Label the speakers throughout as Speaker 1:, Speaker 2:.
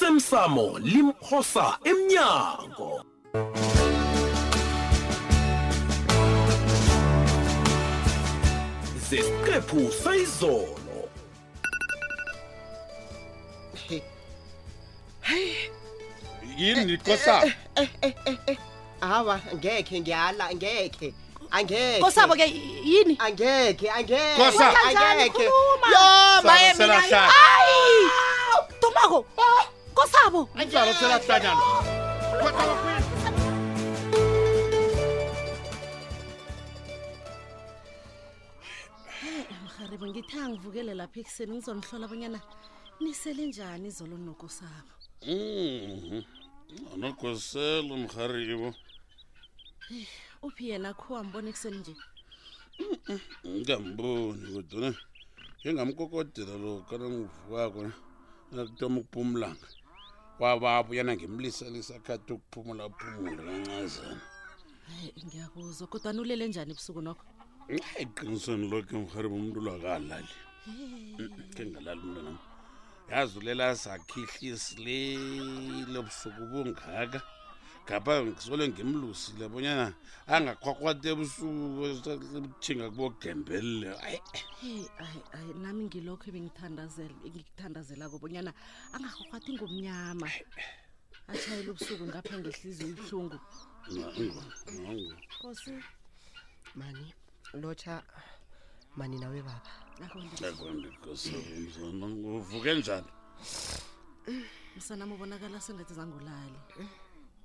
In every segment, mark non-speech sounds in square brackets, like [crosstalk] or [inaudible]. Speaker 1: osemsamo limphosa emnyango zesiqephu sayizolo
Speaker 2: yini nikosabo
Speaker 3: hawa ngekhe ngiyala ngekhe angeke
Speaker 4: kosabo ke yini
Speaker 3: angeke angeke
Speaker 2: Kosa.
Speaker 4: kanjani
Speaker 3: angeke
Speaker 4: khuluma
Speaker 3: yo maye
Speaker 2: Sala, sala,
Speaker 3: mina
Speaker 2: sala.
Speaker 4: hayi tomako kosabo
Speaker 2: mzalo selahlanyana
Speaker 4: mharibo ngithe angivukele lapha ekuseni ngizonihlola abanyana nisele njani izolo nokosabo
Speaker 2: anakoselo mrharibo
Speaker 4: uphi yena kho ambona ekuseni nje
Speaker 2: ngingamboni kodwana njengamkokodela lo kana ngivukako nakutoma ukuphumulanga wababa uyana ngimlisa lisakhathi ukuphumulaphumula kancazana
Speaker 4: hayi ngiyakuzwa kodwa nulele njani ebusuku nokho
Speaker 2: eqinisweni lokho mrharibo umntu lwakalali khe ngalali mntanam yazi ulela sakhihlisi lele busuku bungaka ngapha ngisole ngimlusile bonyana angakhwakhwate ebusuku uthinga kubogembelele ayi
Speaker 4: heyi hayi hayi nami ngilokho engikuthandazela kobonyana angarhwakhwathi ngomnyama atshayela ubusuku ngapha ngehliziyo ubuhlungu kosi
Speaker 3: mani lotsha mani nawe baba
Speaker 4: akonde
Speaker 2: uvuke njani
Speaker 4: msanami ubonakala sengathi zangulali
Speaker 3: Eh?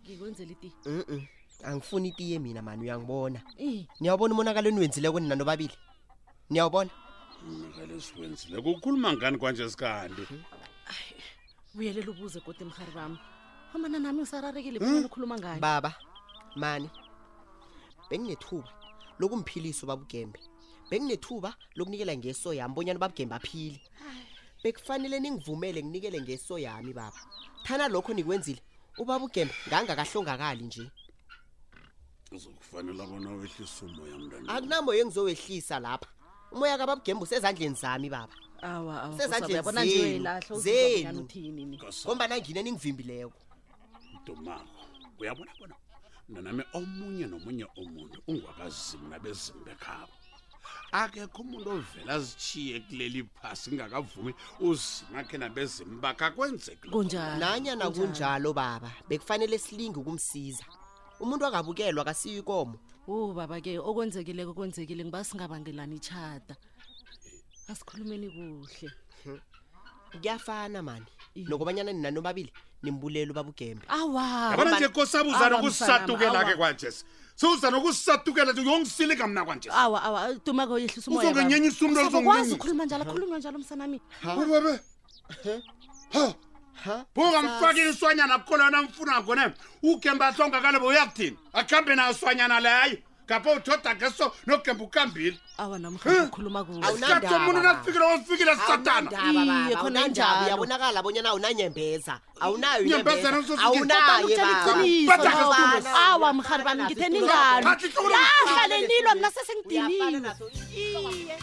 Speaker 4: ngikwenzela iti
Speaker 3: mhm angifuni itiye mina mani uyangibona
Speaker 4: Eh,
Speaker 3: niyawubona umonakalo eniwenzileko nina nobabili niyawubona
Speaker 2: ngalesiwenzile kukhuluma ngani kwanje sikandi
Speaker 4: buyelela ubuze kodwa emhari bami amana nami usararekile
Speaker 3: Hmm?
Speaker 4: phana ukhuluma ngayo
Speaker 3: baba mani benginethuba lokumphilisa babugembe benginethuba lokunikela ngeso yami bonyana babugembe aphile bekufanele ningivumele nginikele ngeso yami baba thana lokho nikwenzile ubaba ugembe ngangakahlongakali nje
Speaker 2: uzokufanele bona wehlise umoya mntana
Speaker 3: akunamoya engizowehlisa lapha umoya kababugembe usezandleni zami baba
Speaker 4: awa awa,
Speaker 3: Sezandleni
Speaker 4: Nkosi, uyabona nje
Speaker 3: zenu,
Speaker 4: uyayilahla, uzizwa
Speaker 3: zenu.
Speaker 4: bonyana uthini ni
Speaker 3: ngombana ngine ningivimbileko
Speaker 2: domako uyabona bona mnanami omunye nomunye umuntu ungwakazimu nabezimu bekhabo akekho umuntu ovela azitshiye kuleli phasi ngakavumi uzimakhe nabezimu bakhe akwenzeki lokho.
Speaker 4: kunjani
Speaker 3: nanyana kunjalo baba bekufanele silinge ukumsiza umuntu akabukelwa kasiyo ikomo
Speaker 4: o baba ke okwenzekileko kwenzekile ngiba singabangelani itshata asikhulumeni kuhle
Speaker 3: kuyafana mani
Speaker 4: Iye.
Speaker 3: nokobanyana nina nobabili nimbulela ubabugembe
Speaker 2: yabona
Speaker 4: awa
Speaker 2: nje kosabo
Speaker 4: Awa,
Speaker 2: uza nokusisatukela ke
Speaker 4: msanami, awa.
Speaker 2: kwanjesi sewuza nokusisatukela nje uyongisilika mna kwanjesi
Speaker 4: awa awa tumako yehlisa umoya baba.
Speaker 2: Uzongenyenyisa umuntu
Speaker 4: Usaba ukwazi
Speaker 2: alizongenyenyisa.
Speaker 4: ukhuluma njalo khulunywa njalo msanami
Speaker 2: ubebe ha
Speaker 3: ha
Speaker 2: bungamfakeli iswanyana kukhona yona mfuna kone ugembe ahlongakale bo uyakuthini akuhambe nayo swanyana leyo ngapha uthoda ngeso nogembe ukambile
Speaker 4: awa namhlobo ukhuluma kuhle
Speaker 3: Awuna-
Speaker 2: sikhathi
Speaker 3: ndaba,
Speaker 2: omuntu
Speaker 3: baba.
Speaker 2: nafikile ofikile satana
Speaker 4: Iye, khona njalo.
Speaker 3: uyabonakala bonyana awunanyembeza awunayo
Speaker 2: Nyembeza nazo zonke. Baba, baba,
Speaker 4: utshela
Speaker 2: baba.
Speaker 4: iqiniso awa mhari bami ngithe ningalo
Speaker 2: Phathi ihloko lakho.
Speaker 4: yahlale nilwa mna sesengidiniwe
Speaker 3: sesengidiniwe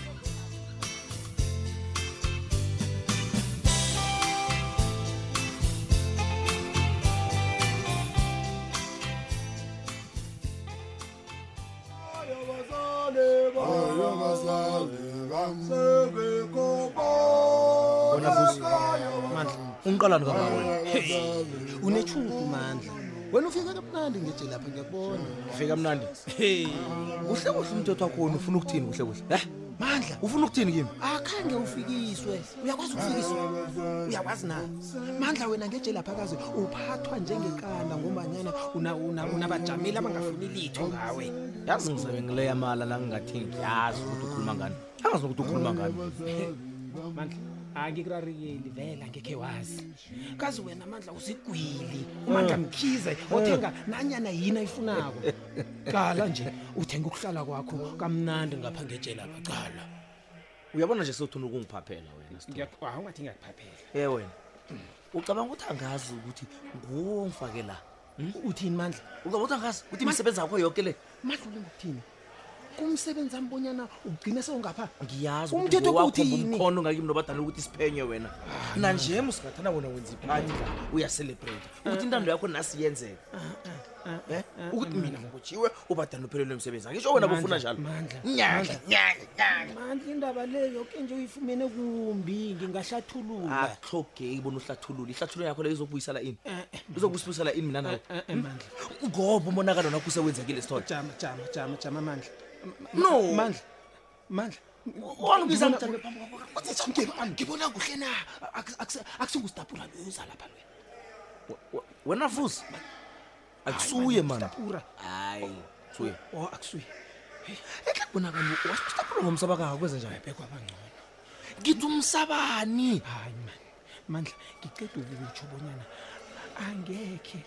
Speaker 5: bona vusi mandla ungiqalani kangaka wena unetshudu mandla wena ufike kamnandi ngeje lapha ngiyakubona ufike kamnandi kuhle kuhle umthetho wakhona ufuna ukuthini kuhle kuhle eh mandla ufuna ukuthini kimi akhange ufikiswe uyakwazi ukufikiswa uyakwazi na mandla wena ngeje laphakaze uphathwa njengekana ngombanyana unabajameli abangafuni litho ngawe yazi ngizabe ngileya mala la ngingathi ngiyazi ukuthi ukhuluma ngani angazi nokuthi ukhuluma ngani
Speaker 6: mandla angikurarikeli vele angekhe wazi kazi wena mandla usigwili
Speaker 5: Eh,
Speaker 6: umandla mkhize othenga nanyana yini [laughs] ayifunako qala nje uthenga ukuhlala kwakho kamnandi ngapha ngejelapha cala
Speaker 5: uyabona nje sewuthuna ukungiphaphela wena Sto-
Speaker 6: awungathi ngiyakuphaphela
Speaker 5: ye Eh, wena ucabanga ukuthi angazi ukuthi nguwo ngifake la
Speaker 6: Hmm? uthini mandla
Speaker 5: ucabanga ukuthi angazi ukuthi imisebenzi yakho yoke le
Speaker 6: mandla ulingokuthini kumsebenzi ambonyana ugcine sewungapha
Speaker 5: ngiyazi
Speaker 6: Umthetho uthini?
Speaker 5: umkhono ngakimi nobadala ukuthi siphenye wena nanje msikathana wona wenza iphathi uyacelebrate ukuthi intando yakho nasi yenzeka Eh? ukuthi mina ngokujiwe ubadala uphelelwe emsebenzi angisho wena bufuna njalo
Speaker 6: mandla
Speaker 5: Nyanga, nyanga, nyanga.
Speaker 6: mandla indaba leyo yoke nje uyifumene kumbi ngingahlathulula
Speaker 5: akuhlogeki bona uhlathulule ihlathululo yakho leyo izokubuyisela ini izokubusibuyisela ini mina nawe
Speaker 6: Eh, eh, mandla
Speaker 5: ngoba umonakalo nakho usewenzekile sithoda
Speaker 6: jama jama jama jama mandla
Speaker 5: No.
Speaker 6: mandla mandla
Speaker 5: wangibiza
Speaker 6: Ngibona-
Speaker 5: mdala phambi kwakho
Speaker 6: Ngibona- ngibona kuhle na Ak- akuse- akusingustapura loyoza lapha wena
Speaker 5: We- wena fusi akusuye mani
Speaker 6: stapura
Speaker 5: hayi suye
Speaker 6: o Oh, akusuye
Speaker 5: ekubonakani wasitapula ngomsabakaka kwenza njani
Speaker 6: bekwabangcono
Speaker 5: ngithi umsabani
Speaker 6: hayi mani mandla ngiceda ukukutsho bonyana angekhe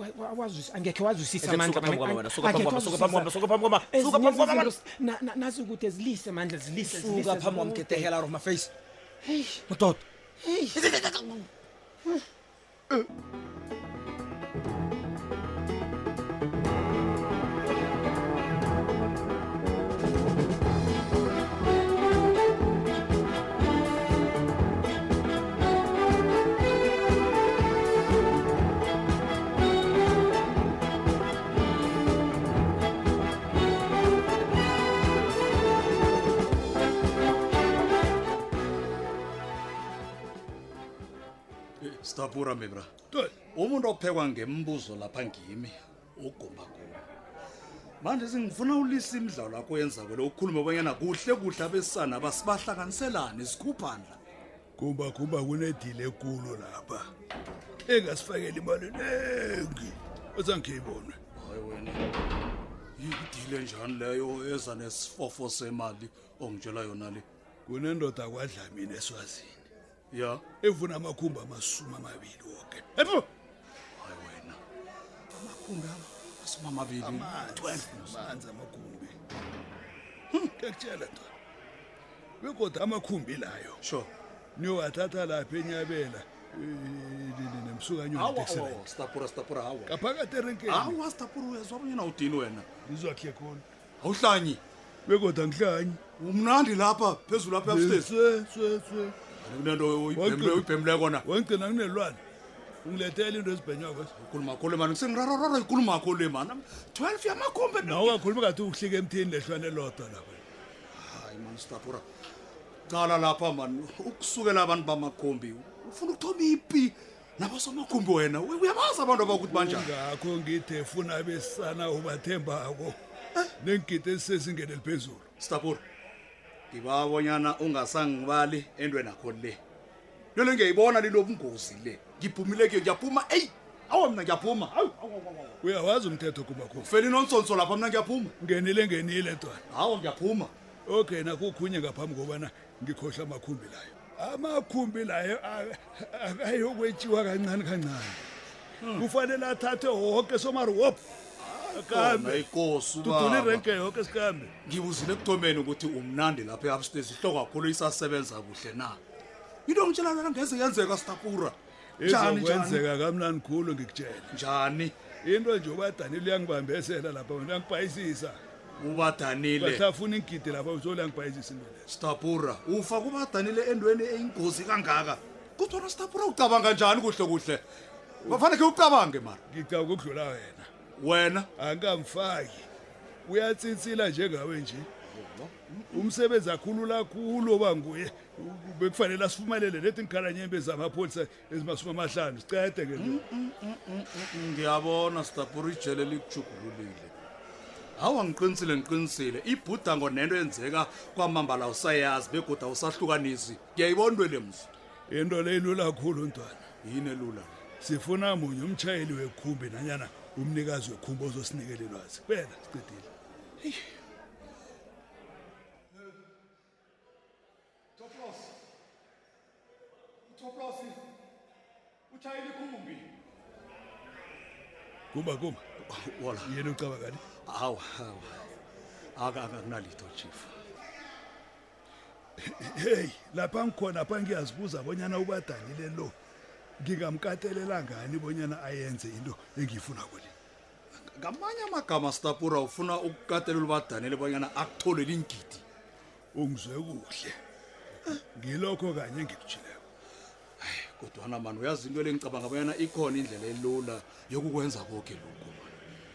Speaker 6: wa- wa- wazwis- angekhe wazwisisa
Speaker 5: Ehle,
Speaker 6: Mandla,
Speaker 5: suka phambi
Speaker 6: man.
Speaker 5: kwami wena, suka
Speaker 6: Angekhe
Speaker 5: phambi kwami, suka phambi kwami,
Speaker 6: wazwisisa.
Speaker 5: suka phambi kwami,
Speaker 6: Ezinye
Speaker 5: suka phambi kwami,
Speaker 6: izinto
Speaker 5: man.
Speaker 6: z- na- na- nazi ukuthi zilise mandla zilise
Speaker 5: suka
Speaker 6: zilise,
Speaker 5: phambi kwami
Speaker 6: zilise.
Speaker 5: get the hell out of my face
Speaker 6: Eish,
Speaker 5: madoda
Speaker 6: eish.
Speaker 2: stapura mibra umuntu ophekwa ngembuzo lapha ngimi ugumbagumba manje singifuna ulisa imidlalo lakho yenza kwele ukhulume obanyana kuhle kuhle abesana basibahlanganiselani sikhuphandla
Speaker 7: gumbagumba kunedile ekulu lapha engasifakeli imali eningi waza ngiyibone
Speaker 2: hayi wena yidile njani leyo eza nesifofo semali ongitshela yona le
Speaker 7: kunendoda kwadlamini eswazini
Speaker 2: ya Ah,
Speaker 7: evuna amakhumbi amasumi amabili woke epho
Speaker 2: hayi wena amakhumbi asimamabili
Speaker 7: manzi amakhumbi Hmm, ngiyakutshela ndoda begoda amakhumbi layo
Speaker 2: sure
Speaker 7: niyowathatha lapha enyabela eh, ne-
Speaker 2: Awa,
Speaker 7: nemsukanyonitekisela
Speaker 2: awa, stapura stapura hawa
Speaker 7: ngaphakathi
Speaker 5: Ah.
Speaker 7: erenkeni
Speaker 2: hawa stapura uyazwa abanyana udini wena
Speaker 7: ngizwakhe khona
Speaker 2: awuhlanyi
Speaker 7: begoda ngihlanye
Speaker 2: umnandi lapha phezulu lapha
Speaker 5: Eh.
Speaker 2: upstairs
Speaker 7: seseswe
Speaker 2: kunento
Speaker 7: Waqeda.
Speaker 2: ibhemle kona
Speaker 7: wangigcina kunelwane ungilethela into ezibhenyako
Speaker 2: ukhuluma kakhulu mani sengirarororo ikhuluma kakhulu le mani 12 yamakhombe
Speaker 7: nawe ungakhuluma ngathi ukuhlika emthini lehlwane lodwa lapha
Speaker 2: hayi mani stapura cala lapha mani ukusukela abantu bamakhombi ufuna ukuthoma ipi nabasomakhumbi wena We- uyabazi abantu abakuthi banjani
Speaker 7: ngakho ngithe funa abesana ubathembako nengigidi ezisezingeni eliphezulu
Speaker 2: stapura ngibabonyana ungasangibali entweni akho le lelo ngiyayibona linobungozi le ngiphumile kuyo ngiyaphuma eyi awa mna ngiyaphuma hawu
Speaker 7: uyawazi umthetho kubakhulu
Speaker 2: feli nonsonso lapha mna ngiyaphuma
Speaker 7: ngenile ngenile ntwana
Speaker 2: hawa ngiyaphuma
Speaker 7: okay nakukhunye ngaphambi kobana ngikhohlwe amakhumbi layo amakhumbi layo a- akayokwetshiwa kancane kancane kufanele athathwe woke somariwop
Speaker 2: kona
Speaker 7: kambe
Speaker 2: ikosi
Speaker 7: tudula
Speaker 2: ubaba
Speaker 7: irenke yoke sikambe
Speaker 2: ngibuzile ekuthomeni ukuthi umnandi lapha e-upstairs ihloko kakhulu isasebenza kuhle na into ngitshela yona ngeze yenzeka stapura njani njani
Speaker 7: izokwenzeka kamnani khulu ngikutshela
Speaker 2: njani
Speaker 7: into nje ubadanile uyangibambezela lapha wena uyangibhayisisa
Speaker 2: ubadanile
Speaker 7: bahlafuna ingidi lapha uzoluyangibhayisisa into leso
Speaker 2: stapura ufa kubadanile endweni eyingozi kangaka kuthiwona stapura ucabanga njani kuhle kuhle bafaneke ucabange mara
Speaker 7: ngicabanga ukudlula wena
Speaker 2: wena
Speaker 7: angamfaki uyatsinsila njengawe nje umsebenzi akhulula khulu oba nguye bekufanele asifumelele lethi ngikhalanyembe zamapholisa ezimasumi amahlanu sicede ke nje
Speaker 2: ngiyabona stapura ijele likujugululile hawu angiqinisile ngiqinisile ibhudango nento enzeka kwamambala awusayazi begoda awusahlukanisi ngiyayibona into le mzi
Speaker 7: into le ilula khulu ntwana
Speaker 2: yini elula
Speaker 7: sifuna munye umtshayeli wekhumbi nanyana umnikazi wekhumbi ozosinikela ilwazi kuphela sicedile kumba kumba
Speaker 2: wala
Speaker 7: yena ucabangani
Speaker 2: hawu hawu akunalitho chief
Speaker 7: heyi lapha ngikhona pha ngiyazibuza bonyana ubadanile lo ngingamkatelela ngani bonyana ayenze into engiyifuna kule
Speaker 8: ngamanye amagama sitapura ufuna ukukatelela ubadanele bonyana akutholeli iingidi
Speaker 7: ungizwe kuhle ngilokho kanye engikutshileko
Speaker 8: kodwana mani uyazi into lengicabanga bonyana ikhona indlela elula yokukwenza koke lokhu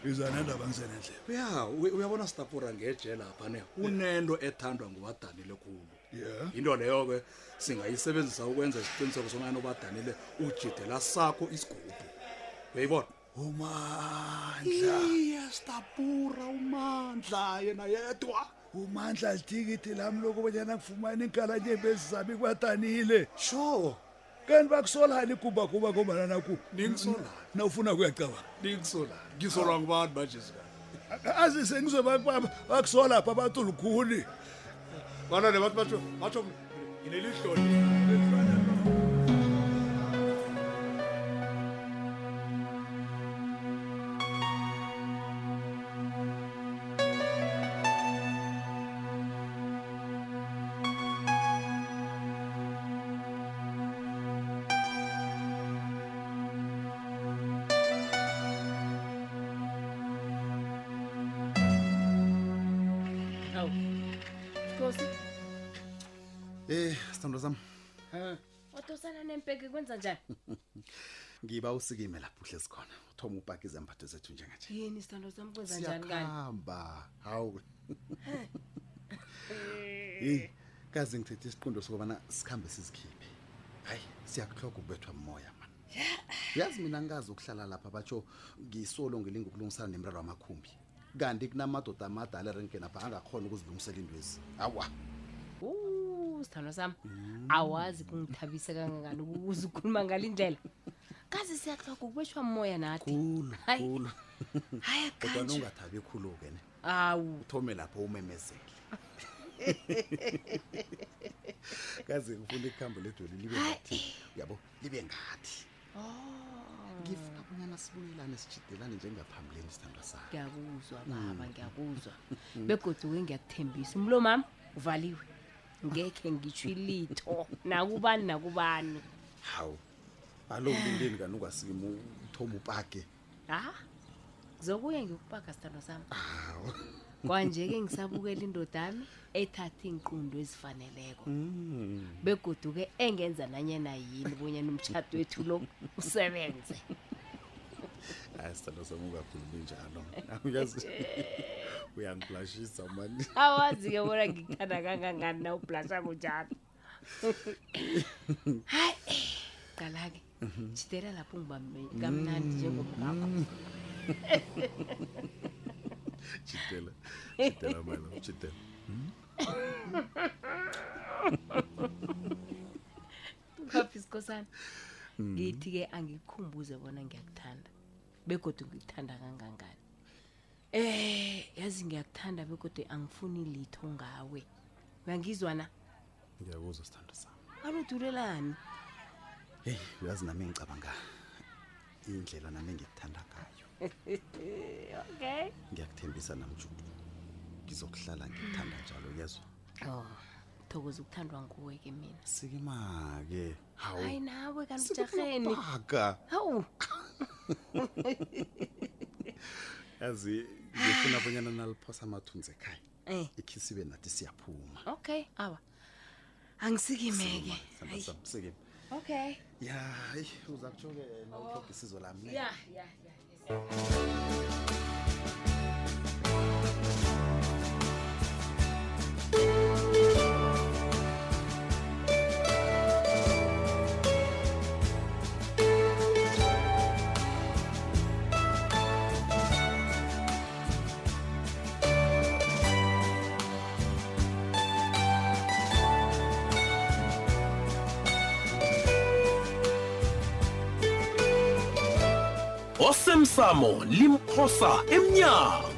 Speaker 7: iza nendaba ngisenendlela
Speaker 8: ya uy- uyabona sitapura ngeje lapha ne unento ethandwa ngubadanile khulu
Speaker 7: ya
Speaker 8: into leyo-ke singayisebenzisa ukwenza isiqiniseko somanyana ubadanile ujidela sakho isigubhu uyayibona
Speaker 7: umandla
Speaker 8: iye sitapura umandla yena yedwa
Speaker 7: umandla lithikithi lami lokubanyana kufumana iinkalanyembe ezizabi kwadanile
Speaker 8: sure
Speaker 7: kanti bakusolani igubaguba ngombana naku
Speaker 8: ningisolani
Speaker 7: nawufuna kuyacabanga
Speaker 8: ningisolani ngisolwa ngubani bajezika
Speaker 7: azise ngizwe bakusolapha abantu lukhuni
Speaker 8: bana ne bathi batsho batsho nginelihloni
Speaker 4: hawu sikosi
Speaker 8: Eh sithando sami
Speaker 9: watosana nempeke kwenza njani
Speaker 8: [laughs] ngiba usikime lapho uhle sikhona uthoma upaka izembatho zethu njenganje
Speaker 9: yini isithando sami kwenza njani kani
Speaker 8: siyakuhamba hawu [laughs] Eh kaze ngithethe isiqundo sokubana sikhambe sizikhiphe hayi siyakuhloka ukubethwa umoya man yazi mina ngazi ukuhlala lapha batsho ngisolo ngilinga ukulungisana nemraro wamakhumbi kanti kunamadoda amadala erenkenapha angakhona ukuzilungisela intwezi awa
Speaker 9: u sithando sami awazi kungithabise kangangani ukuze ukhuluma ngale ndlela kazi siyahloka ukubeshwa moya nathi
Speaker 8: khulu
Speaker 9: Hayi.
Speaker 8: khulu
Speaker 9: hayi
Speaker 8: kodwana
Speaker 9: kanje
Speaker 8: ungathabi khulu-ke ne
Speaker 9: awu
Speaker 8: uthome lapho umemezele [laughs] kaze ngifuna ikhambo ledoli libe ngathi yabo libe ngathi ngifuna bonyana sibuyelane sijidelane njengaphambileni sithandwa sayo
Speaker 9: ngiyakuzwa baba ngiyakuzwa begoduke ngiyakuthembisa umlo mami uvaliwe ngekhe ngitsho ilitho nakubani nakubani
Speaker 8: hawu aloku inteni kani ungasikima uthoma upake
Speaker 9: ha zokuya Ah, ngiyokupaka sithando sami kwanje-ke ngisabukela indodami ethatha iinqundo ezifaneleko begoduke engenza nanyana yini bonyana umtshato wethu lo usebenze
Speaker 8: hayi sithandwa sami ungakhulumi njalo uyazi [laughs] uyangilashisa mani
Speaker 9: awazi-ke bona ngikuthanda kangangani na ublasha kunjalo hayi qala-ke jidela lapho ngibambe- kamnandi njengomngakho
Speaker 8: jidela jidela mani jidela
Speaker 9: Hmm? kaphi sikhosana ngithi-ke angikukhumbuze bona ngiyakuthanda begodwa ngikuthanda kangangani eh yazi ngiyakuthanda begodwa angifuni litho ngawe uyangizwa na
Speaker 8: ngiyakuzwa sithandwa sami
Speaker 9: aludulelani
Speaker 8: heyi uyazi nami engicabanga indlela nami engikuthanda ngayo
Speaker 9: okay
Speaker 8: ngiyakuthembisa namjudu ngizokuhlala ngikuthanda njalo uyezwa
Speaker 9: oh thokoza ukuthandwa nguwe ke mina
Speaker 8: sikima-ke hawu
Speaker 9: hayi nawe kanijaheni
Speaker 8: sikunopaka
Speaker 9: hawu
Speaker 8: yazi ngifuna bonyana naliphosa amathunzi ekhaya
Speaker 9: eh
Speaker 8: ikhisibe nathi siyaphuma
Speaker 9: okay awa angisikimeke
Speaker 8: Sithandwa
Speaker 9: Hayi,
Speaker 8: sami, sikima
Speaker 9: okay
Speaker 8: ya eyi, uza kutsho-ke nawuhloga isizo lami ne?
Speaker 9: ya ya ya
Speaker 1: osemsamo limphosa emnyango